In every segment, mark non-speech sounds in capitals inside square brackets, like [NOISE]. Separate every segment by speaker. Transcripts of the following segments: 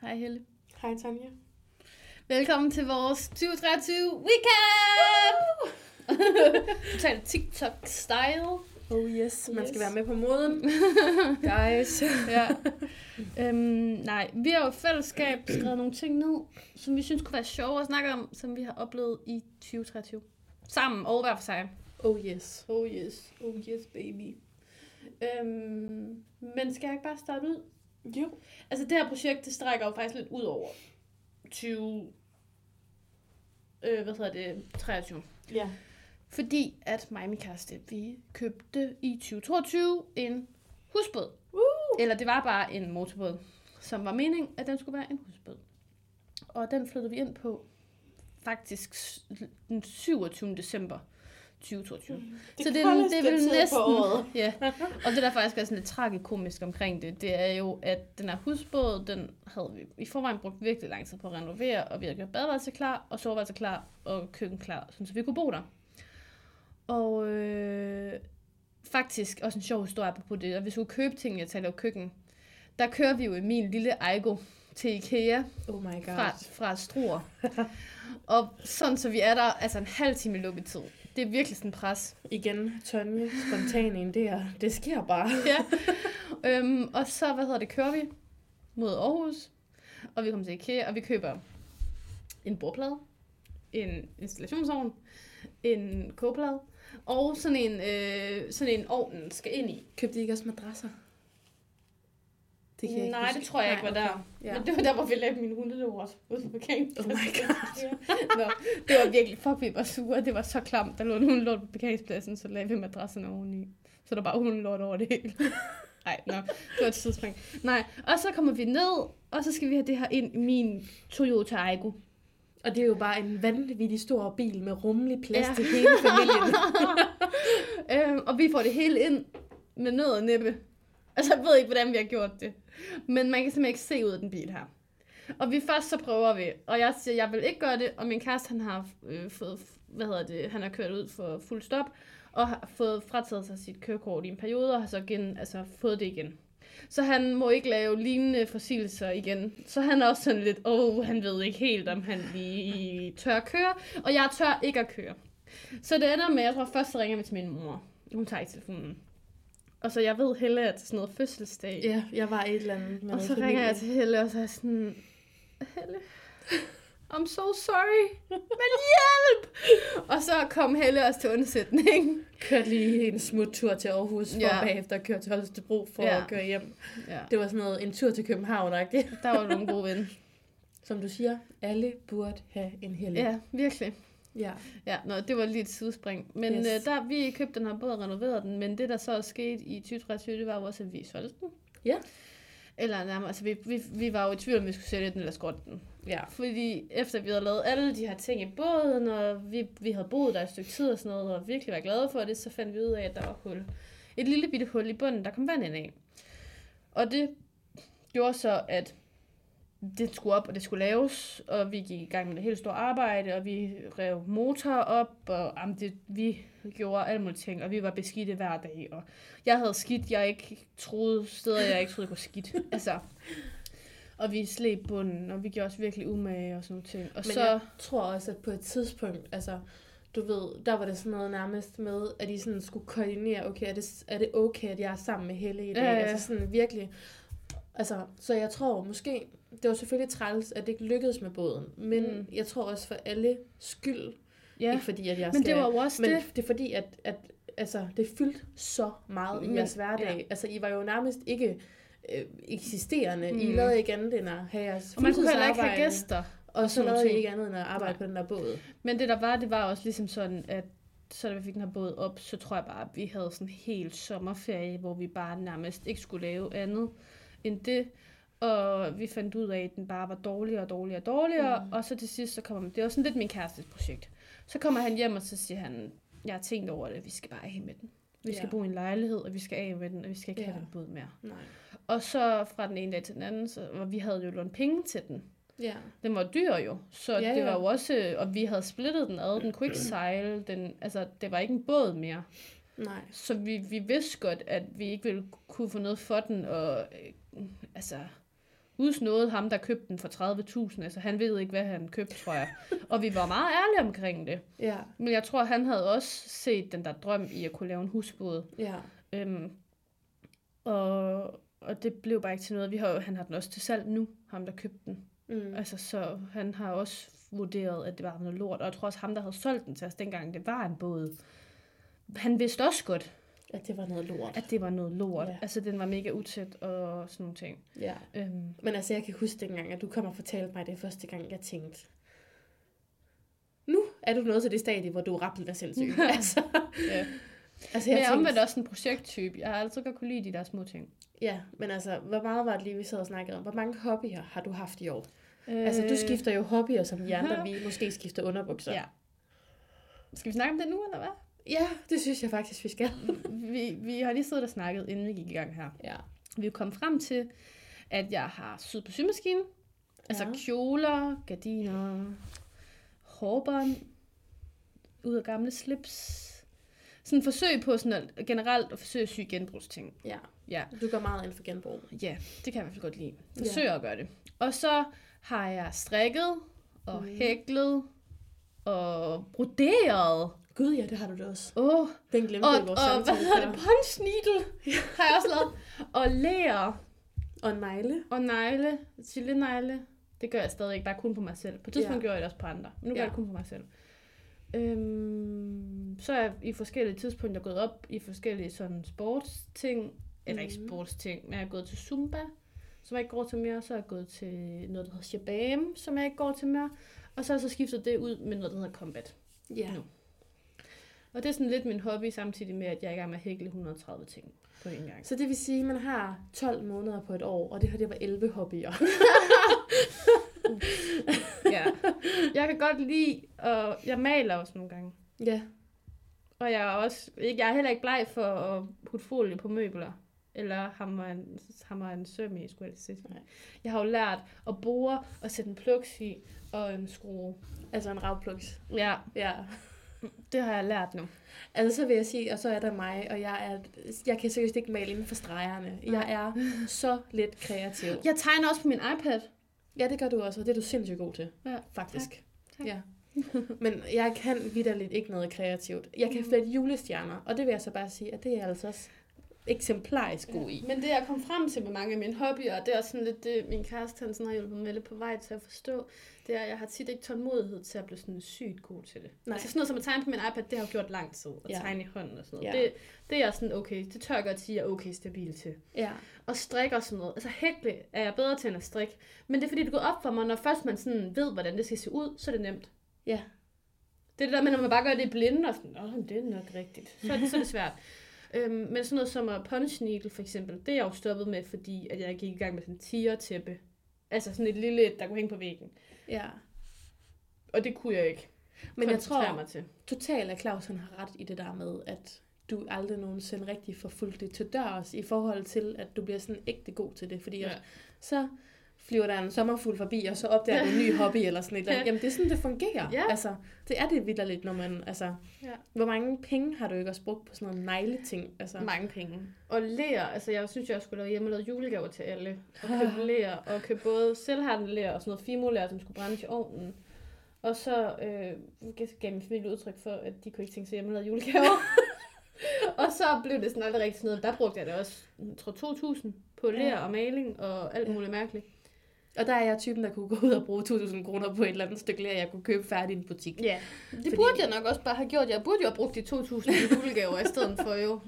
Speaker 1: Hej Helle.
Speaker 2: Hej Tanja.
Speaker 1: Velkommen til vores 2023 weekend! Totalt TikTok-style.
Speaker 2: Oh yes, man
Speaker 1: Yes.
Speaker 2: skal være med på moden. Guys.
Speaker 1: ja. øhm, nej, vi har jo i fællesskab skrevet nogle ting ned, som vi synes kunne være sjove at snakke om, som vi har oplevet i 2023. Sammen og hver for sig.
Speaker 2: [LAUGHS] Oh yes, oh yes, oh yes baby.
Speaker 1: Øhm, men skal jeg ikke bare starte ud?
Speaker 2: Jo.
Speaker 1: Altså det her projekt, det strækker jo faktisk lidt ud over 20... Øh, hvad hedder det? 23.
Speaker 2: Ja.
Speaker 1: Fordi at mig og min kæreste, vi købte i 2022 en husbåd.
Speaker 2: Woo!
Speaker 1: Eller det var bare en motorbåd, som var meningen, at den skulle være en husbåd. Og den flyttede vi ind på faktisk s- den 27. december 2022. Så det er den-
Speaker 2: koldeste
Speaker 1: det er vel
Speaker 2: tid på
Speaker 1: næsten-
Speaker 2: året.
Speaker 1: [LAUGHS] Ja, og det der faktisk er sådan lidt tragikomisk omkring det, det er jo, at den her husbåd, den havde vi i forvejen brugt virkelig lang tid på at renovere, og vi havde gjort badeværelse klar, og soveværelse klar, og køkken klar, sådan så vi kunne bo der. Og øh, faktisk også en sjov historie på det, og hvis du købe ting, jeg taler jo køkken, der kører vi jo i min lille Aigo til Ikea,
Speaker 2: Oh my god.
Speaker 1: fra, fra Struer. og sådan, så vi er der altså en halv time i lukketid. Det er virkelig sådan pres.
Speaker 2: Igen, Tonje, spontan en der. Det sker bare.
Speaker 1: ja. Øhm, og så, hvad hedder det, kører vi mod Aarhus, og vi kommer til IKEA, og vi køber en bordplade, en installationsovn, en kogeplade, og sådan en, øh, sådan en ovnen skal ind i.
Speaker 2: Købte I ikke også madrasser?
Speaker 1: Nej, det tror jeg ikke var der.
Speaker 2: Ja.
Speaker 1: Men det var der, hvor vi lavede min hundelort ude på parkeringspladsen.
Speaker 2: Oh my god.
Speaker 1: Nå, det var virkelig, fuck vi var sure, det var så klamt. Der lå en hundelort på parkeringspladsen, så lagde vi madrassen oveni. Så der bare hundelort over det hele. [LAUGHS] Nej, nå, det var et tidsspring. Nej, og så kommer vi ned, og så skal vi have det her ind i min Toyota Aygo.
Speaker 2: Og det er jo bare en vanvittig stor bil med rummelig plads
Speaker 1: Ja.
Speaker 2: ja. til hele
Speaker 1: [LAUGHS]
Speaker 2: familien.
Speaker 1: øhm, og vi får det hele ind med nød og næppe. Altså, jeg ved ikke, hvordan vi har gjort det. Men man kan simpelthen ikke se ud af den bil her. Og vi først så prøver vi, og jeg siger, jeg vil ikke gøre det, og min kæreste, han har øh, fået, hvad hedder det, han har kørt ud for fuld stop, og har fået frataget sig sit kørekort i en periode, og har så igen, altså, fået det igen. Så han må ikke lave lignende forseelser igen. Så han er også sådan lidt, åh, oh, han ved ikke helt, om han lige tør køre, og jeg tør ikke at køre. Så det ender med, jeg tror først så ringer vi til min mor. Hun tager ikke telefonen. Og så jeg ved Helle er til sådan noget fødselsdag.
Speaker 2: ja, jeg var et eller andet med
Speaker 1: og så
Speaker 2: familien.
Speaker 1: ringer jeg til Helle, og så er jeg sådan, Helle, I'm so sorry, men hjælp! og så kom Helle også til undsætning.
Speaker 2: Kørte lige en smuttur til Aarhus, for
Speaker 1: Ja.
Speaker 2: ja. bagefter at køre til Holstebro for
Speaker 1: Ja.
Speaker 2: ja. at køre hjem.
Speaker 1: Ja,
Speaker 2: Det var sådan noget, en tur til København, ikke?
Speaker 1: der var nogle gode ven.
Speaker 2: [LAUGHS] Som du siger, alle burde have en helg.
Speaker 1: [LAUGHS] Ja, virkelig.
Speaker 2: ja.
Speaker 1: Ja, nå, det var lige et sidespring. Men yes.
Speaker 2: Yes.
Speaker 1: øh, der, vi købte den her båd og renoverede den, men det der så også skete i 2023, det var jo også, at vi solgte den.
Speaker 2: Ja.
Speaker 1: Eller nærmere, altså vi, vi, vi var jo i tvivl, om vi skulle sælge den eller skrotte den.
Speaker 2: ja.
Speaker 1: Fordi efter vi havde lavet alle de her ting i båden, og vi, vi havde boet der et stykke tid og sådan noget, og virkelig var glade for det, så fandt vi ud af, at der var hul. Et lille bitte hul i bunden, der kom vand ind af. Og det gjorde så, at det skulle op, og det skulle laves, og vi gik i gang med det helt store arbejde, og vi rev motor op, og jamen, det, vi gjorde alle mulige ting, og vi var beskidte hver dag, og jeg havde skidt, jeg ikke troede, steder jeg ikke troede, jeg kunne
Speaker 2: [LAUGHS]
Speaker 1: skidt. Altså, og vi slæb bunden, og vi gjorde os virkelig umage og sådan nogle ting. Og
Speaker 2: Men
Speaker 1: så,
Speaker 2: jeg tror også, at på et tidspunkt, altså, du ved, der var det sådan noget nærmest med, at I sådan skulle koordinere, okay, er det, er det okay, at jeg er sammen med Helle i dag?
Speaker 1: Ja,
Speaker 2: Ja,
Speaker 1: ja.
Speaker 2: ja. Altså sådan virkelig. Altså, så jeg tror måske, det var selvfølgelig træls, at det ikke lykkedes med båden, men
Speaker 1: Mm.
Speaker 2: mm. jeg tror også for alle skyld, ja.
Speaker 1: ja,
Speaker 2: ikke fordi, at jeg
Speaker 1: men
Speaker 2: skal...
Speaker 1: det var jo også
Speaker 2: men
Speaker 1: det.
Speaker 2: det. det er fordi, at, at altså, det fyldte så meget i
Speaker 1: Men-
Speaker 2: jeres hverdag.
Speaker 1: ja.
Speaker 2: Ja. Altså, I var jo nærmest ikke øh, eksisterende. Mm. I
Speaker 1: Mm.
Speaker 2: lavede ikke andet end at have jeres
Speaker 1: Og man kunne heller ikke have gæster.
Speaker 2: fuldtidsarbejde. Og så
Speaker 1: sådan nogle
Speaker 2: lavede I
Speaker 1: ting.
Speaker 2: ikke andet end at arbejde
Speaker 1: Nej.
Speaker 2: på den der båd.
Speaker 1: Men det der var, det var også ligesom sådan, at så da vi fik den her båd op, så tror jeg bare, at vi havde sådan en hel sommerferie, hvor vi bare nærmest ikke skulle lave andet end det. Og vi fandt ud af, at den bare var dårligere og dårligere og dårligere. Mm. Og så til sidst, så kommer det var sådan lidt min kærestes projekt. Så kommer han hjem, og så siger han, jeg har tænkt over det, vi skal bare af med den. Vi skal
Speaker 2: Ja.
Speaker 1: bo i en lejlighed, og vi skal af med den, og vi skal ikke have
Speaker 2: Ja.
Speaker 1: den båd mere.
Speaker 2: Nej.
Speaker 1: Og så fra den ene dag til den anden, så, og vi havde jo lånt penge til den.
Speaker 2: Ja.
Speaker 1: Den var dyr jo, så ja,
Speaker 2: Ja,
Speaker 1: det
Speaker 2: ja.
Speaker 1: var jo også, øh, og vi havde splittet den ad, den kunne ikke sejle, den, altså det var ikke en båd mere.
Speaker 2: Nej.
Speaker 1: Så vi, vi vidste godt, at vi ikke ville kunne få noget for den, og øh, altså, udsnåede ham, der købte den for 30.000. Altså, han ved ikke, hvad han købte, tror jeg. Og vi var meget ærlige omkring det.
Speaker 2: Ja,
Speaker 1: Men jeg tror, han havde også set den der drøm i at kunne lave en husbåd.
Speaker 2: ja.
Speaker 1: Øhm, og, og det blev bare ikke til noget. Vi har, jo- han har den også til salg nu, ham der købte den.
Speaker 2: Mm.
Speaker 1: Altså, så han har også vurderet, at det var noget lort. Og jeg tror også, ham der havde solgt den til os dengang, det var en båd. Han vidste også godt,
Speaker 2: At det var noget lort.
Speaker 1: at det var noget lort.
Speaker 2: Ja.
Speaker 1: Ja. Altså, den var mega utæt og sådan nogle ting.
Speaker 2: Ja.
Speaker 1: Øhm,
Speaker 2: Men altså, jeg kan huske dengang, at du kom og fortalte mig det første gang, jeg tænkte, nu er du nået til det stadie, hvor du er rappelt
Speaker 1: [LAUGHS]
Speaker 2: af sindssyg. altså, [LAUGHS]
Speaker 1: ja. Men
Speaker 2: altså, jeg
Speaker 1: jeg er
Speaker 2: tænkte,
Speaker 1: omvendt også en projekttype. Jeg har altid godt kunne lide de der små ting.
Speaker 2: Ja, men altså, hvor meget var det lige, vi sad og snakkede om? Hvor mange hobbyer har du haft i år? Altså, du skifter jo hobbyer, som vi andre, vi måske skifter underbukser.
Speaker 1: Øh, Ja. Skal vi snakke om det nu,
Speaker 2: [LAUGHS]
Speaker 1: eller hvad?
Speaker 2: ja, det synes jeg faktisk, vi skal.
Speaker 1: Vi, vi har lige siddet og snakket, inden vi gik i gang her.
Speaker 2: Ja.
Speaker 1: Vi kom frem til, at jeg har syet på symaskinen. Altså
Speaker 2: Ja.
Speaker 1: kjoler, gardiner, hårbånd, ud af gamle slips. Sådan forsøg på sådan at, generelt at forsøge at sy genbrugsting.
Speaker 2: ja.
Speaker 1: Ja.
Speaker 2: Du går meget ind for genbrug.
Speaker 1: Ja, det kan jeg i hvert fald godt lide. Forsøger at gøre det. Og så har jeg strikket og
Speaker 2: Mm.
Speaker 1: hæklet og broderet.
Speaker 2: Gud, ja, det har du da også.
Speaker 1: Åh, oh,
Speaker 2: Den glemte
Speaker 1: og,
Speaker 2: vi i vores
Speaker 1: og hvad
Speaker 2: [LAUGHS] samtale
Speaker 1: hedder
Speaker 2: før.
Speaker 1: det? Punchneedle har jeg også lavet. Og lærer
Speaker 2: Og en negle.
Speaker 1: og negle, chillenegle. Det gør jeg stadig ikke, bare kun på mig selv. På et tidspunkt
Speaker 2: Ja.
Speaker 1: ja. gjorde jeg det også på andre, men nu gør
Speaker 2: Ja.
Speaker 1: jeg det kun på mig selv. Øhm, så er jeg i forskellige tidspunkter gået op i forskellige sådan sportsting, eller ikke
Speaker 2: Mhm.
Speaker 1: sportsting, men jeg er gået til Zumba, som jeg ikke går til mere, så er jeg gået til noget, der hedder Shabam, som jeg ikke går til mere, og så har jeg så skiftet det ud med noget, der hedder Combat.
Speaker 2: Ja.
Speaker 1: Nu. Og det er sådan lidt min hobby, samtidig med, at jeg er i gang med at hækle 130 ting på en gang.
Speaker 2: Så det vil sige, at man har 12 måneder på et år, og det her det var 11 hobbyer.
Speaker 1: Ja. [LAUGHS] Jeg kan godt lide, og jeg maler også nogle gange.
Speaker 2: [LAUGHS] ja.
Speaker 1: Og jeg er, også, ikke- jeg er heller ikke bleg for at putte folie på møbler. Eller hammer en, hammer en søm i, skulle jeg lige sige.
Speaker 2: Nej.
Speaker 1: Jeg har jo lært at bore og sætte en pluks i og en skrue.
Speaker 2: Altså en ravpluks.
Speaker 1: Ja,
Speaker 2: Ja.
Speaker 1: det har jeg lært nu.
Speaker 2: Altså så vil jeg sige, og så er der mig, og jeg, er, jeg kan seriøst ikke male inden for stregerne. Jeg [LAUGHS] er så lidt kreativ.
Speaker 1: Jeg tegner også på min iPad.
Speaker 2: Ja, det gør du også, og det er du sindssygt god til.
Speaker 1: Ja,
Speaker 2: Faktisk.
Speaker 1: tak.
Speaker 2: Ja. Men jeg kan vidderligt ikke noget kreativt. Jeg
Speaker 1: Mm.
Speaker 2: kan flette julestjerner, og det vil jeg så bare sige, at det er jeg altså også eksemplarisk god i.
Speaker 1: Men det, jeg kom frem til med mange af mine hobbyer, og det er også sådan lidt det, min kæreste han sådan har hjulpet mig lidt på vej til at forstå, det er, at jeg har tit ikke tålmodighed til at blive sådan sygt god til det.
Speaker 2: Nej.
Speaker 1: Nej. Altså sådan noget som at tegne på min iPad, det har jeg gjort lang tid, at
Speaker 2: Ja.
Speaker 1: ja. tegne i hånden og sådan noget.
Speaker 2: Ja.
Speaker 1: Ja. Det, det er jeg sådan, okay, det tør jeg godt sige, jeg er okay stabil til.
Speaker 2: Ja.
Speaker 1: Og strik og sådan noget. Altså hækle er jeg bedre til end at strikke, men det er fordi, det går op for mig, når først man sådan ved, hvordan det skal se ud, så er det nemt.
Speaker 2: Ja.
Speaker 1: Det er det der med, når man bare gør det i blinde, og sådan, åh, men det er nok rigtigt. Så er det, så er det
Speaker 2: [LAUGHS]
Speaker 1: svært. Øhm, men sådan noget som at punch needle, for eksempel, det er jeg jo stoppet med, fordi at jeg gik i gang med sådan en tigertæppe. Altså sådan et lille, et, der kunne hænge på væggen.
Speaker 2: Ja.
Speaker 1: Og det kunne jeg ikke
Speaker 2: Men jeg
Speaker 1: koncentrere
Speaker 2: tror,
Speaker 1: mig til.
Speaker 2: totalt, at Claus han har ret i det der med, at du aldrig nogensinde rigtig får fulgt det til dørs i forhold til, at du bliver sådan ægte god til det. Fordi
Speaker 1: Ja.
Speaker 2: ja. så flyver der en sommerfugl forbi, og så opdager du en ny hobby eller sådan et eller andet.
Speaker 1: Ja.
Speaker 2: Jamen, det er sådan, det fungerer.
Speaker 1: Ja.
Speaker 2: Altså, det er det vildt når man... Altså,
Speaker 1: Ja.
Speaker 2: Hvor mange penge har du ikke også brugt på sådan nogle negleting? Altså,
Speaker 1: Mange penge. Og lærer, altså jeg synes, jeg skulle lave hjemme lavet julegaver til alle. Og [LAUGHS] købe lærer, og købe både selvhandler og sådan noget fimolærer, som skulle brændes i ovnen. Og så øh, gav min familie udtryk for, at de kunne ikke tænke sig hjemme lavet [LAUGHS] julegaver. og så blev det sådan aldrig rigtig sådan noget. Der brugte jeg da også, jeg tror 2.000 på lærer og maling og alt muligt mærkeligt.
Speaker 2: og der er jeg typen, der kunne gå ud og bruge 2.000 kroner på et eller andet stykke lær, jeg kunne købe færdig i en butik.
Speaker 1: Ja, det
Speaker 2: Fordi-
Speaker 1: Fordi... burde jeg nok også bare have gjort. Jeg burde jo have brugt de 2.000 i julegaver i stedet for jo.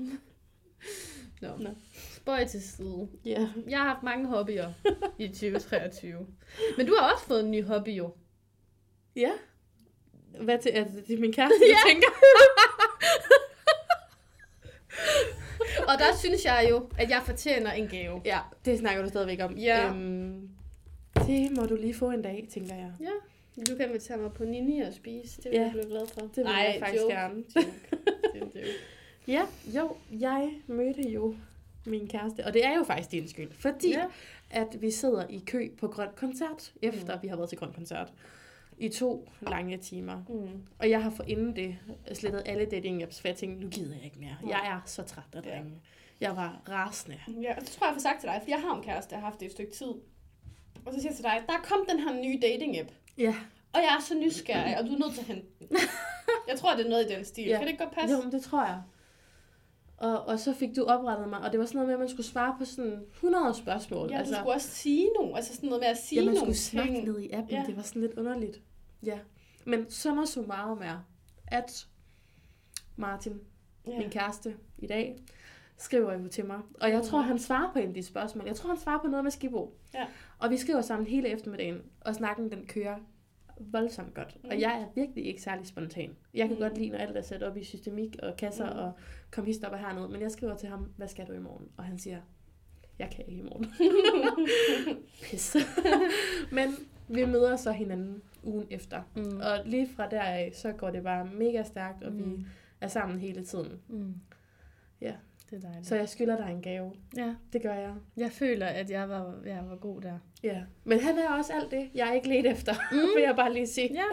Speaker 1: Nå,
Speaker 2: Nå.
Speaker 1: Nå. spøj til side.
Speaker 2: Ja.
Speaker 1: Jeg har haft mange hobbyer i 2023. Men du har også fået en ny hobby jo.
Speaker 2: Ja. Hvad til, altså, det er min
Speaker 1: [LAUGHS]
Speaker 2: kæreste, ja. tænker.
Speaker 3: [LAUGHS]
Speaker 1: Og der synes jeg jo, at jeg fortjener en gave.
Speaker 2: Ja, det snakker du stadigvæk om.
Speaker 1: Ja.
Speaker 2: Øhm, det må du lige få en dag, tænker jeg.
Speaker 1: Ja. Du kan invitere mig på Nini og spise. Det
Speaker 2: vil
Speaker 1: vil
Speaker 2: Ja. jeg
Speaker 1: jeg blive glad for. Det
Speaker 2: Det vil jeg faktisk
Speaker 3: [LAUGHS]
Speaker 2: gerne. Ja, jo, jeg mødte jo min kæreste, og det er jo faktisk din skyld, fordi ja.
Speaker 1: Ja.
Speaker 2: at vi sidder i kø på Grøn Koncert, efter mm. vi har været til Grøn Koncert, i to lange timer.
Speaker 1: Mm.
Speaker 2: Og jeg har forinden det slettet alle dating apps, for jeg tænkte, nu gider jeg ikke mere.
Speaker 1: Nej.
Speaker 2: Jeg er så træt af drenge. Jeg var rasende.
Speaker 3: Ja, og det tror jeg, jeg har sagt til dig, for jeg har en kæreste, jeg har haft det i et stykke tid. Og så siger jeg til dig, der kom den her nye dating-app,
Speaker 2: Ja.
Speaker 3: og jeg er så nysgerrig, og du er nødt til at hente den. Jeg tror, det er noget i den stil.
Speaker 2: Ja.
Speaker 3: Ja. Kan det ikke godt passe?
Speaker 2: Jo, men det tror jeg. Og, og så fik du oprettet mig, og det var sådan noget med, at man skulle svare på sådan 100 spørgsmål. Altså,
Speaker 3: Ja,
Speaker 1: Altså,
Speaker 3: du skulle også sige nu. Altså sådan noget med at sige
Speaker 2: ja, man
Speaker 3: nogle
Speaker 2: skulle snakke
Speaker 3: ting.
Speaker 2: ned i appen. Ja.
Speaker 3: Ja.
Speaker 2: Det var sådan lidt underligt. Ja. Men summa summarum er, at Martin, ja. min
Speaker 3: Ja.
Speaker 2: kæreste i dag, skriver jo til mig. Og jeg tror, han svarer på en af de spørgsmål. Jeg tror, han svarer på noget med Skibo.
Speaker 3: Ja.
Speaker 2: Og vi skriver sammen hele eftermiddagen, og snakken den kører voldsomt godt. Mm.
Speaker 3: Mm.
Speaker 2: Og jeg er virkelig ikke særlig spontan. Jeg kan mm.
Speaker 3: Mm.
Speaker 2: godt lide, når alt er sat op i systemik og kasser mm.
Speaker 3: Mm.
Speaker 2: og kom hist op og hernede. Men jeg skriver til ham, hvad skal du i morgen? Og han siger, jeg kan ikke i morgen. Pis. [LAUGHS] Men vi møder så hinanden ugen efter.
Speaker 1: Mm.
Speaker 2: Og lige fra deraf, så går det bare mega stærkt, og mm. vi er sammen hele tiden.
Speaker 1: Mm.
Speaker 2: Ja.
Speaker 1: Det er dejligt.
Speaker 2: Så jeg skylder dig en gave.
Speaker 1: Ja,
Speaker 2: Det gør jeg.
Speaker 1: jeg føler, at jeg var, jeg var god der.
Speaker 2: Ja. Men han er også alt det, jeg er ikke let efter, [LAUGHS]
Speaker 1: Mm.
Speaker 2: mm. vil jeg bare lige sige.
Speaker 1: Ja,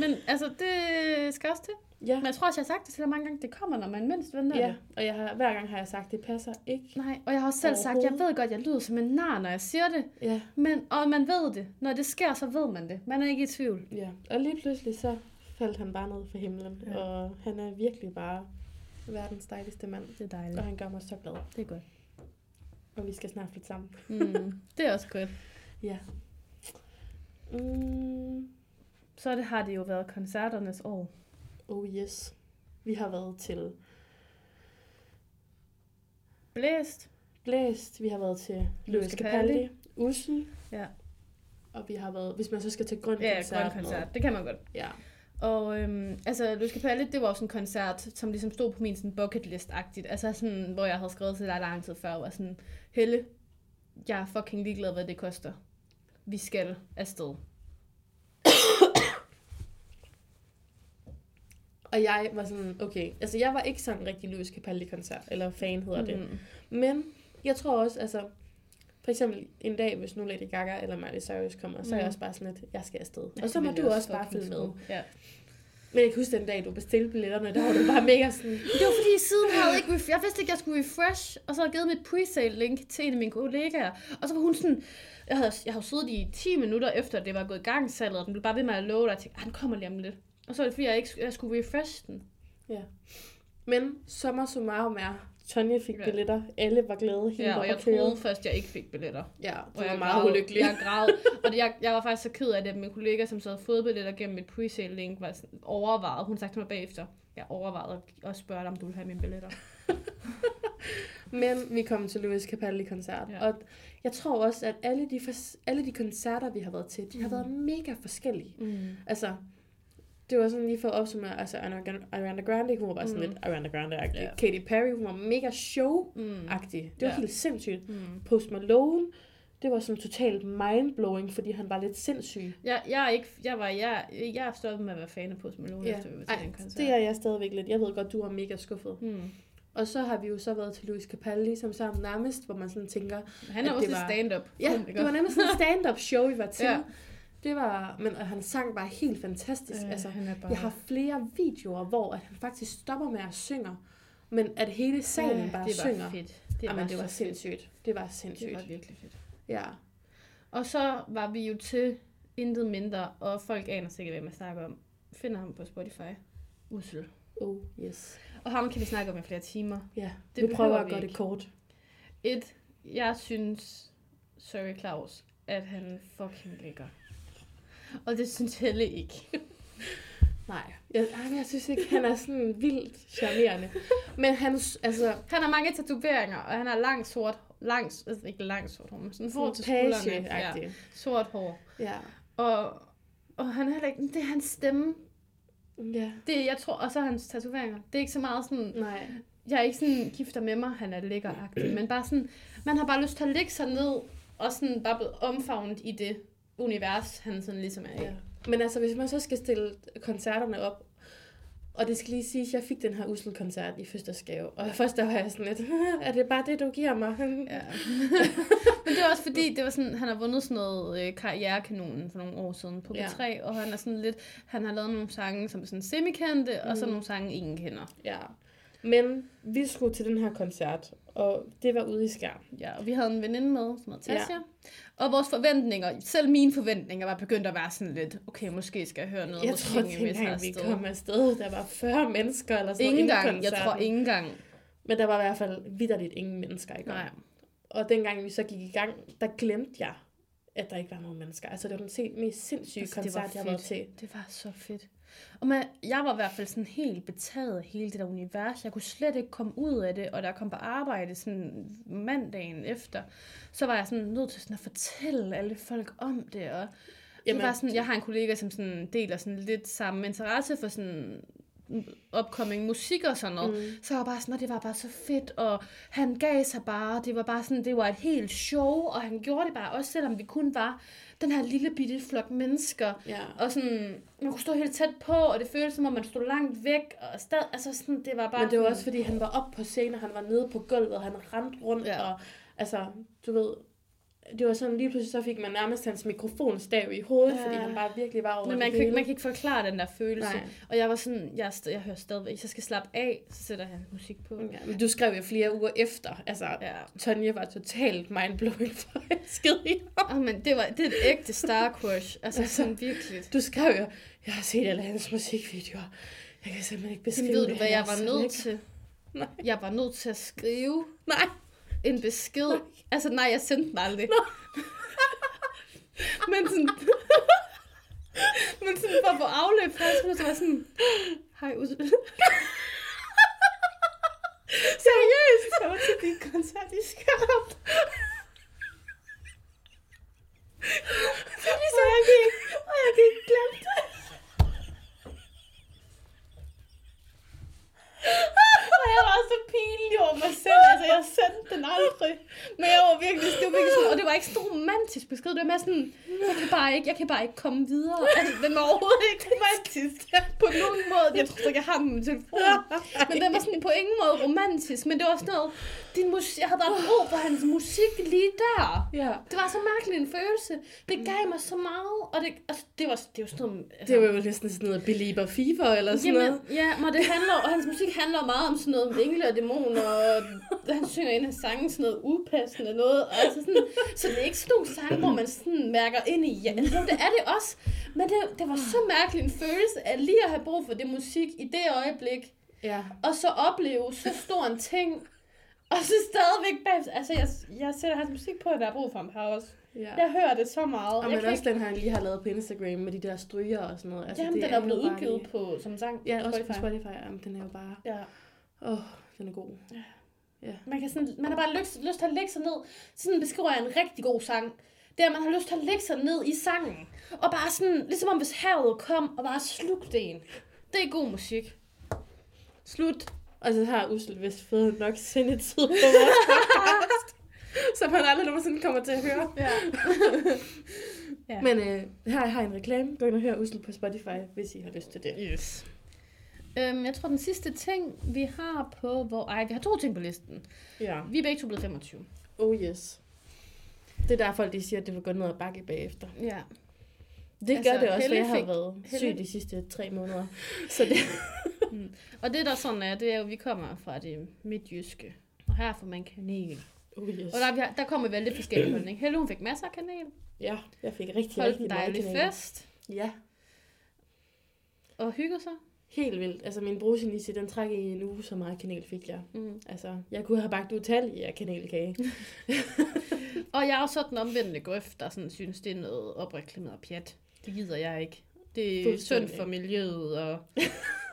Speaker 1: men altså, det skal også til.
Speaker 2: Ja.
Speaker 1: Men jeg tror også, jeg har sagt det til dig mange gange. Det kommer, når man mindst venter
Speaker 2: ja.
Speaker 1: det.
Speaker 2: Og jeg har, hver gang har jeg sagt, det passer ikke.
Speaker 1: Nej, og jeg har også selv sagt, jeg
Speaker 2: Overhovedet.
Speaker 1: ved godt, jeg lyder som en nar, når jeg siger det.
Speaker 2: Ja.
Speaker 1: Men, og man ved det. Når det sker, så ved man det. Man er ikke i tvivl.
Speaker 2: ja. Og lige pludselig så faldt han bare ned fra himlen.
Speaker 1: Ja.
Speaker 2: Ja. Og han er virkelig bare verdens dejligste mand.
Speaker 1: Det er dejligt.
Speaker 2: Og han gør mig så glad.
Speaker 1: Det er godt.
Speaker 2: Og vi skal snart flytte sammen.
Speaker 1: Mm. det er også godt.
Speaker 2: Ja. Mm.
Speaker 1: Så det har det jo været koncerternes år.
Speaker 2: Oh yes. Vi har været til
Speaker 1: Blæst.
Speaker 2: Blæst, vi har været til Louis
Speaker 1: Capaldi.
Speaker 2: Capaldi, Ussel.
Speaker 1: Ja.
Speaker 2: Og vi har været, hvis man så skal til grøn
Speaker 1: Ja,
Speaker 2: koncert.
Speaker 1: grøn koncert. Det kan man godt.
Speaker 2: Ja.
Speaker 1: Og øhm, altså, Louis Capaldi, det var jo sådan en koncert, som ligesom stod på min sådan bucket list-agtigt. Altså sådan, hvor jeg havde skrevet til dig lang tid før, var sådan, Helle, jeg er fucking ligeglad, hvad det koster. Vi skal afsted.
Speaker 2: Og jeg var sådan, okay, altså jeg var ikke sådan en rigtig Louis Capaldi-koncert, eller fan hedder mm.
Speaker 1: Mhm.
Speaker 2: det. Men jeg tror også, altså, for eksempel en dag, hvis nu Lady Gaga eller Miley Cyrus kommer, så er jeg
Speaker 1: Mm.
Speaker 2: også bare sådan lidt, jeg skal afsted.
Speaker 1: Ja,
Speaker 2: og så
Speaker 1: det
Speaker 2: må
Speaker 1: ville
Speaker 2: du
Speaker 1: jeg
Speaker 2: også bare
Speaker 1: fucking
Speaker 2: følge med.
Speaker 1: tro. Ja.
Speaker 2: Men jeg kan huske den dag, du bestilte billetterne, der var du bare mega sådan,
Speaker 1: Men Det var fordi, siden jeg havde ikke, ref- jeg vidste ikke, jeg skulle refresh, og så havde jeg givet mit presale link til en af mine kollegaer. Og så var hun sådan, jeg havde, jeg havde siddet i 10 minutter efter, det var gået i gang salget, og den blev bare ved med at love, og jeg tænkte, "Ah, den kommer lige om lidt. Og så var det fordi, jeg ikke jeg skulle refresh den.
Speaker 2: men sommer summarum er, Tonje fik
Speaker 1: Ja.
Speaker 2: billetter, alle var glade, hele
Speaker 1: Ja, og
Speaker 2: var
Speaker 1: jeg
Speaker 2: på køre.
Speaker 1: troede først, jeg ikke fik billetter.
Speaker 2: Ja, du
Speaker 1: Og jeg
Speaker 2: var meget
Speaker 1: græd,
Speaker 2: ulykkelig.
Speaker 1: Jeg græd. Og det, jeg, jeg var faktisk så ked af det, at min kollega, som så havde fået billetter gennem mit presale link, var sådan, overvejet. Hun sagde til mig bagefter, jeg overvejede at- at spørge dig, om du ville have mine billetter.
Speaker 2: Men vi kom til Louis Capaldi-koncert,
Speaker 1: Ja.
Speaker 2: ja. og jeg tror også, at alle de, fors- alle de koncerter, vi har været til, de har
Speaker 1: Mhm.
Speaker 2: været mega forskellige.
Speaker 1: Mm.
Speaker 2: Altså, det var sådan lige for at opsummere, altså Ariana- Ariana Grande, hun var bare sådan
Speaker 1: Mhm.
Speaker 2: lidt Ariana Grande-agtig.
Speaker 1: Ja.
Speaker 2: Mm. Ja. Katy Perry, hun var mega show-agtig.
Speaker 1: Mm.
Speaker 2: Det var
Speaker 1: Ja.
Speaker 2: helt sindssygt.
Speaker 1: Mm.
Speaker 2: Post Malone, det var sådan totalt mindblowing, fordi han var lidt sindssyg.
Speaker 1: Jeg, jeg, er ikke, jeg, var, jeg, jeg er stoppet med at være fan af Post Malone,
Speaker 2: Ja.
Speaker 1: efter vi var til
Speaker 2: Ej,
Speaker 1: den koncert.
Speaker 2: det er jeg stadigvæk lidt. Jeg ved godt, du er mega skuffet.
Speaker 1: Mm.
Speaker 2: Og så har vi jo så været til Louis Capaldi, som sammen nærmest, hvor man sådan tænker,
Speaker 1: Han er
Speaker 2: At
Speaker 1: også
Speaker 2: det
Speaker 1: lidt
Speaker 2: var-
Speaker 1: stand-up.
Speaker 2: Ja,
Speaker 1: komiker.
Speaker 2: det var nemlig [LAUGHS] sådan en stand-up show, vi var til.
Speaker 1: Ja.
Speaker 2: ja. Det var, men og han sang bare helt fantastisk. Øh, altså,
Speaker 1: han er bare...
Speaker 2: jeg har flere videoer, hvor at han faktisk stopper med at synge, men at hele salen
Speaker 1: Ja,
Speaker 2: øh, bare
Speaker 1: det var
Speaker 2: synger.
Speaker 1: fedt.
Speaker 2: Det var, Jamen, det
Speaker 1: så
Speaker 2: var
Speaker 1: fedt.
Speaker 2: sindssygt. Det var
Speaker 1: Det
Speaker 2: sindssygt.
Speaker 1: var virkelig fedt.
Speaker 2: Ja.
Speaker 1: Og så var vi jo til intet mindre, og folk aner sikkert, hvad man snakker om. Finder ham på Spotify. Ussel.
Speaker 2: Oh, yes.
Speaker 1: Og ham kan vi snakke om i flere timer.
Speaker 2: Ja,
Speaker 1: Det
Speaker 2: det vi
Speaker 1: behøver
Speaker 2: prøver
Speaker 1: vi
Speaker 2: at gøre det
Speaker 1: ikke.
Speaker 2: kort.
Speaker 1: Et, jeg synes, sorry Claus, at han fucking ligger. Og det synes Helle ikke.
Speaker 2: Nej, jeg, ej, men jeg synes ikke, han er sådan vildt charmerende. Men han, altså,
Speaker 1: Han har mange tatoveringer, og han har langt sort, langt, altså ikke langt sort hår, men sådan hår til skuldrene. Ja,
Speaker 2: page-agtig.
Speaker 1: sort hår.
Speaker 2: Ja.
Speaker 1: Og, og han er heller ikke, det er hans stemme.
Speaker 2: ja.
Speaker 1: Det, er- jeg tror, og så er hans tatoveringer. Det er ikke så meget sådan,
Speaker 2: Nej.
Speaker 1: jeg er ikke sådan gifter med mig, han er lækker men bare sådan, man har bare lyst til at ligge sig ned, og sådan bare blive omfavnet i det univers, han sådan ligesom er i.
Speaker 2: Ja. Men altså, hvis man så skal stille koncerterne op, og det skal lige sige, at jeg fik den her Ussel-koncert i fødselsdagsgave, og først der var jeg sådan lidt, er det bare det, du giver mig?
Speaker 1: Ja. Men det var også fordi, det var sådan, han har vundet sådan noget øh, karrierekanonen for nogle år siden på
Speaker 2: Ja.
Speaker 1: P3, og han er sådan lidt, han har lavet nogle sange, som er sådan semikendte, mm. og så
Speaker 2: Mm.
Speaker 1: nogle sange, ingen kender.
Speaker 2: ja. Men vi skulle til den her koncert, og det var ude i skærm.
Speaker 1: Ja, og vi havde en veninde med, som hed Tasha.
Speaker 2: Ja.
Speaker 1: Ja. Og vores forventninger, selv mine forventninger, var begyndt at være sådan lidt, okay, måske skal jeg høre noget.
Speaker 2: Jeg
Speaker 1: måske
Speaker 2: tror
Speaker 1: ikke, hvis jeg er
Speaker 2: dengang vi
Speaker 1: afsted.
Speaker 2: kom afsted, der var 40 mennesker eller sådan
Speaker 1: Ingen
Speaker 2: noget. inden
Speaker 1: gang, jeg
Speaker 2: koncerten.
Speaker 1: tror ingen gang.
Speaker 2: Men der var i hvert fald vidderligt ingen mennesker i gang.
Speaker 1: Nej.
Speaker 2: Og dengang vi så gik i gang, der glemte jeg, at der ikke var nogen mennesker. Altså det var den se- mest sindssyge
Speaker 1: Altså,
Speaker 2: altså,
Speaker 1: det var
Speaker 2: koncert, jeg var
Speaker 1: fedt.
Speaker 2: til.
Speaker 1: Det var så fedt. Og man, jeg var i hvert fald sådan helt betaget af hele det der univers. Jeg kunne slet ikke komme ud af det, og da jeg kom på arbejde sådan mandagen efter, så var jeg sådan nødt til sådan at fortælle alle folk om det. Og Jamen, det var sådan, jeg har en kollega, som sådan deler sådan lidt samme interesse for sådan opkomming musik og sådan noget. Mm. Så jeg var bare sådan, "Nå, det var bare så fedt, og han gav sig bare, og det var bare sådan, det var et helt show, og han gjorde det bare, også selvom vi kun var den her lille bitte flok mennesker.
Speaker 2: Ja.
Speaker 1: Og sådan, man kunne stå helt tæt på, og det føltes som om, man stod langt væk, og stad, altså sådan, det var bare...
Speaker 2: Men det var
Speaker 1: sådan-
Speaker 2: også, fordi han var op på scenen, og han var nede på gulvet, og han rendte rundt,
Speaker 1: Ja.
Speaker 2: ja. og altså, du ved, det var sådan, lige pludselig så fik man nærmest hans mikrofonstav i hovedet, ja. fordi
Speaker 1: Ja.
Speaker 2: han bare virkelig var over
Speaker 1: Men man
Speaker 2: det
Speaker 1: kan, ikke-
Speaker 2: hele.
Speaker 1: man kan ikke forklare den der følelse.
Speaker 2: Nej.
Speaker 1: Og jeg var sådan, jeg, er st- jeg hører stadigvæk, hvis jeg skal slappe af, så sætter jeg musik på.
Speaker 2: Ja, men du skrev jo flere uger efter, altså, ja.
Speaker 1: Ja.
Speaker 2: Tonje var totalt mindblowing forelsket i ham.
Speaker 1: Oh, men det, var, det er et ægte star crush. Altså sådan virkelig.
Speaker 2: Du skrev jo, jeg har set alle hans musikvideoer, jeg kan simpelthen ikke
Speaker 1: Men
Speaker 2: beskrive
Speaker 1: ved du, hvad
Speaker 2: her,
Speaker 1: jeg var
Speaker 2: så
Speaker 1: nødt
Speaker 2: lækker."
Speaker 1: til?
Speaker 2: [LAUGHS] Nej.
Speaker 1: Jeg var nødt til at skrive
Speaker 2: Nej,
Speaker 1: en besked. Nej. Altså nej, jeg sendte den aldrig.
Speaker 2: [LAUGHS]
Speaker 1: men sådan... men [LAUGHS] sådan for at få afløb fra, så var jeg sådan... Hej, Usse. Seriøst?
Speaker 2: jeg var til din koncert i Skarp.
Speaker 1: Det er ligesom, jeg kan ikke, og jeg kan ikke glemme det.
Speaker 3: Og jeg var så pinlig over mig selv, altså jeg sendte den aldrig.
Speaker 1: Men jeg var virkelig, det var virkelig sådan, og det var ikke sådan en romantisk besked, det var mere sådan, jeg kan bare ikke, jeg kan bare ikke komme videre. Altså, den var overhovedet ikke romantisk på nogen måde. Jeg tror ikke, jeg har den på min telefon. Men den var sådan på ingen måde romantisk, men det var sådan noget, din musik, jeg havde bare brug for hans musik lige der.
Speaker 2: Ja.
Speaker 1: Det var så mærkelig en følelse. Det gav mig så meget, og det, altså, det var, det var sådan noget... Altså,
Speaker 2: Det var jo næsten sådan noget Belieber Fever eller sådan
Speaker 1: Jamen,
Speaker 2: noget.
Speaker 1: ja, men det handler, og hans musik handler meget om sådan noget med engle og dæmoner, og han synger en af sangen sådan noget upassende noget, og altså sådan, så det er ikke sådan nogle sange, hvor man sådan mærker ind i, ja, jo, det er det også, men det, det var så mærkelig en følelse af lige at have brug for det musik i det øjeblik,
Speaker 2: Ja.
Speaker 1: og så opleve så stor en ting, og så stadigvæk bagefter, altså jeg, jeg sætter hans musik på, og der er brug for ham her også.
Speaker 2: ja.
Speaker 1: Jeg hører det så meget.
Speaker 2: Og
Speaker 1: jeg
Speaker 2: men
Speaker 1: kan
Speaker 2: også den her, han lige har lavet på Instagram med de der stryger og sådan noget. Altså,
Speaker 1: ikke, jamen, den er
Speaker 2: jo
Speaker 1: blevet
Speaker 2: bare
Speaker 1: udgivet
Speaker 2: lige-
Speaker 1: på, som sang.
Speaker 2: Ja, også på
Speaker 1: Spotify.
Speaker 2: Spotify. Jamen, den er jo bare...
Speaker 1: Ja.
Speaker 2: Åh, oh, den er god.
Speaker 1: Man, kan sådan, man har bare lyst, lyst til at lægge sig ned. Sådan beskriver jeg en rigtig god sang. Det er, at man har lyst til at lægge sig ned i sangen. Og bare sådan, ligesom om hvis havet kom og bare slugte en. Det er god musik. Slut.
Speaker 2: Og så har Ussel vist fået nok sendetid på vores podcast, som han aldrig nogensinde kommer til at høre.
Speaker 1: Ja. Ja.
Speaker 2: Men øh, her har jeg en reklame. Gå ind og hør Ussel på Spotify, hvis I har lyst til det.
Speaker 1: Yes. Øhm, jeg tror, den sidste ting, vi har på hvor... Ej, vi har to ting på listen.
Speaker 2: Ja.
Speaker 1: Vi er begge to blevet 25.
Speaker 2: Oh yes. Det er der folk, de siger, at det vil gå ned ad bakke bagefter.
Speaker 1: Ja.
Speaker 2: Det
Speaker 1: Altså,
Speaker 2: altså, gør det også, for
Speaker 1: Helle
Speaker 2: jeg har
Speaker 1: fik-
Speaker 2: været
Speaker 1: Helle-
Speaker 2: syg de sidste tre måneder. Så det,
Speaker 1: Og det, der sådan er, det er jo, at vi kommer fra det midtjyske. Og her får man kanel.
Speaker 2: oh yes.
Speaker 1: Og der, vi har- der kommer vi alle lidt forskellige holdninger. Helle, hun fik masser af kanel.
Speaker 2: Ja, jeg fik rigtig,
Speaker 1: holdt
Speaker 2: rigtig
Speaker 1: en dejlig
Speaker 2: kanaler.
Speaker 1: fest
Speaker 2: Ja,
Speaker 1: og hyggede sig.
Speaker 2: helt vildt. Altså min brusenisse, den træk i en uge, så meget kanel fik jeg.
Speaker 1: Mm.
Speaker 2: Altså, jeg kunne have bagt utallige af kanelkage.
Speaker 1: Og jeg er jo sådan omvendte grøft, der sådan synes, det er noget opreklameret pjat. Det gider jeg ikke. Det er synd
Speaker 2: Fuldstændig.
Speaker 1: for miljøet
Speaker 2: [LAUGHS]
Speaker 1: og...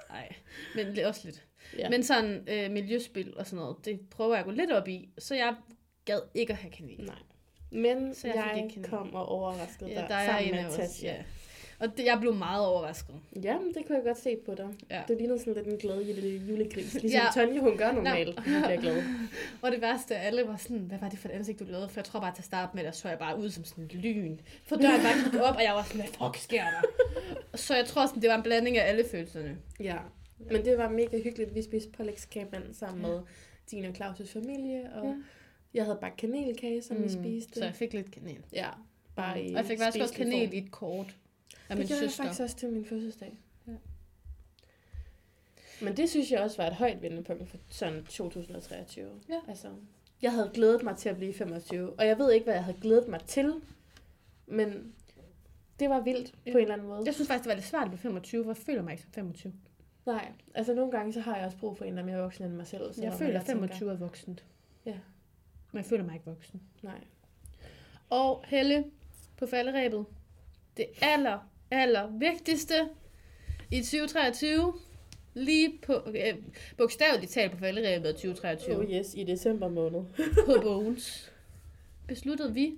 Speaker 1: Nej, men det er også lidt.
Speaker 2: Ja.
Speaker 1: Ja. Men sådan øh, miljøspil og sådan noget, det prøver jeg at gå lidt op i, så jeg gad ikke at have kanel.
Speaker 2: Nej. Men
Speaker 1: Så
Speaker 2: så
Speaker 1: jeg
Speaker 2: jeg,
Speaker 1: fik ikke
Speaker 2: jeg
Speaker 1: kanel.
Speaker 2: kom og overraskede
Speaker 1: Ja,
Speaker 2: dig
Speaker 1: der er
Speaker 2: sammen
Speaker 1: en
Speaker 2: med
Speaker 1: af os.
Speaker 2: Tasha.
Speaker 1: Ja. Og det, jeg blev meget overrasket.
Speaker 2: Jamen, det kunne jeg godt se på dig.
Speaker 1: Ja.
Speaker 2: Du lignede sådan lidt en glad lille julegris, ligesom
Speaker 1: Ja.
Speaker 2: ja. Tonje, hun gør normalt, når hun bliver glad.
Speaker 1: [LAUGHS] Og det værste af alle var sådan, hvad var det for et ansigt, du lavede? For jeg tror bare, til at starte med, der så jeg bare ud som sådan et lyn. For døren bare gik op, og jeg var sådan, hvad fuck sker der? så jeg tror, sådan, det var en blanding af alle følelserne.
Speaker 2: Ja. Men det var mega hyggeligt. Vi spiste pålægskaben sammen med din og Claus' familie, og
Speaker 1: Ja.
Speaker 2: ja. jeg havde bagt kanelkage, som mm. vi spiste.
Speaker 1: Så jeg fik lidt kanel.
Speaker 2: Ja, bare i
Speaker 1: og jeg fik faktisk også
Speaker 2: spiselig
Speaker 1: kanel
Speaker 2: form.
Speaker 1: i et kort af
Speaker 2: Det
Speaker 1: min
Speaker 2: gjorde jeg
Speaker 1: søster.
Speaker 2: faktisk også til min fødselsdag.
Speaker 1: Ja.
Speaker 2: Ja. Men det synes jeg også var et højt vendepunkt for sådan 2023.
Speaker 1: Ja.
Speaker 2: Altså, Jeg havde glædet mig til at blive 25, og jeg ved ikke, hvad jeg havde glædet mig til, men det var vildt
Speaker 1: Ja.
Speaker 2: på en eller anden måde.
Speaker 1: Jeg synes faktisk, det var lidt svært at blive 25, for jeg føler mig ikke som 25.
Speaker 2: Nej, altså nogle gange, så har jeg også brug for en, der er mere voksen end mig selv.
Speaker 1: Så jeg
Speaker 2: selvom
Speaker 1: føler, at
Speaker 2: tænker-
Speaker 1: 25 er voksent.
Speaker 2: Ja.
Speaker 1: Men jeg føler mig ikke voksen.
Speaker 2: Nej.
Speaker 1: Og Helle på falderæbet. Det aller, aller vigtigste i 2023. Lige på, øh, bogstaveligt talt på falderæbet i 2023.
Speaker 2: Oh yes, i december måned.
Speaker 1: På Bones. Besluttede vi,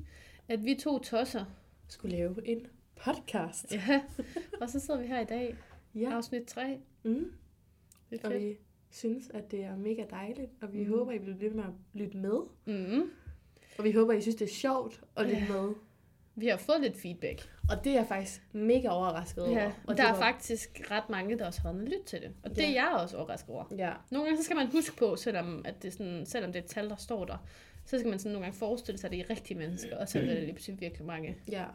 Speaker 1: at vi to tosser.
Speaker 2: Skulle lave en podcast.
Speaker 1: Ja. Og så sidder vi her i dag.
Speaker 2: Ja.
Speaker 1: Afsnit 3.
Speaker 2: Mm.
Speaker 1: Det er
Speaker 2: Og
Speaker 1: fedt.
Speaker 2: vi synes, at det er mega dejligt, og vi
Speaker 1: Mhm.
Speaker 2: mm. håber, I vil blive ved med at lytte med.
Speaker 1: Mm.
Speaker 2: Og vi håber, I synes, det er sjovt at lytte
Speaker 1: Ja.
Speaker 2: med.
Speaker 1: Vi har fået lidt feedback.
Speaker 2: Og det er jeg faktisk mega overrasket over.
Speaker 1: Ja,
Speaker 2: og
Speaker 1: der
Speaker 2: det
Speaker 1: er
Speaker 2: var-
Speaker 1: faktisk ret mange, der også har lyttet til det. Og det er
Speaker 2: Ja.
Speaker 1: jeg også overrasket over.
Speaker 2: Ja,
Speaker 1: Nogle gange så skal man huske på, selvom, at det er sådan, selvom det er et tal, der står der, så skal man sådan nogle gange forestille sig, at det er rigtige mennesker, og så er det lige pludselig virkelig mange.
Speaker 2: ja.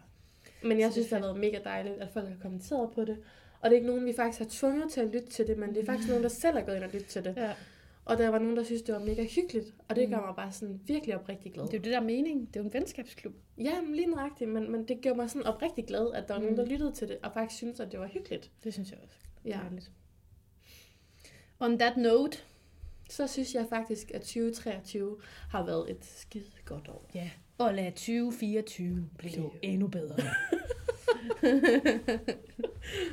Speaker 2: Men jeg
Speaker 1: Så
Speaker 2: synes,
Speaker 1: det
Speaker 2: det
Speaker 1: er
Speaker 2: har været mega dejligt, at folk har kommenteret på det. Og det er ikke nogen, vi faktisk har tvunget til at lytte til det, men det er faktisk nogen, der selv er gået ind og lyttet til det.
Speaker 1: Ja.
Speaker 2: Og der var nogen, der synes, det var mega hyggeligt, og det
Speaker 1: Mm.
Speaker 2: gør mig bare sådan virkelig oprigtig glad.
Speaker 1: Det er jo det, der er mening. Det er jo en venskabsklub.
Speaker 2: Ja, men lige nøjagtigt, men, men det gjorde mig sådan oprigtig glad, at der var
Speaker 1: Mm.
Speaker 2: nogen, der lyttede til det, og faktisk syntes, at det var hyggeligt.
Speaker 1: Det synes jeg også.
Speaker 2: Ja.
Speaker 1: Dejligt. On that note.
Speaker 2: Så synes jeg faktisk, at 2023 har været et skide godt år.
Speaker 1: Ja. Og lad 2024 blive
Speaker 2: Blive.
Speaker 1: endnu bedre.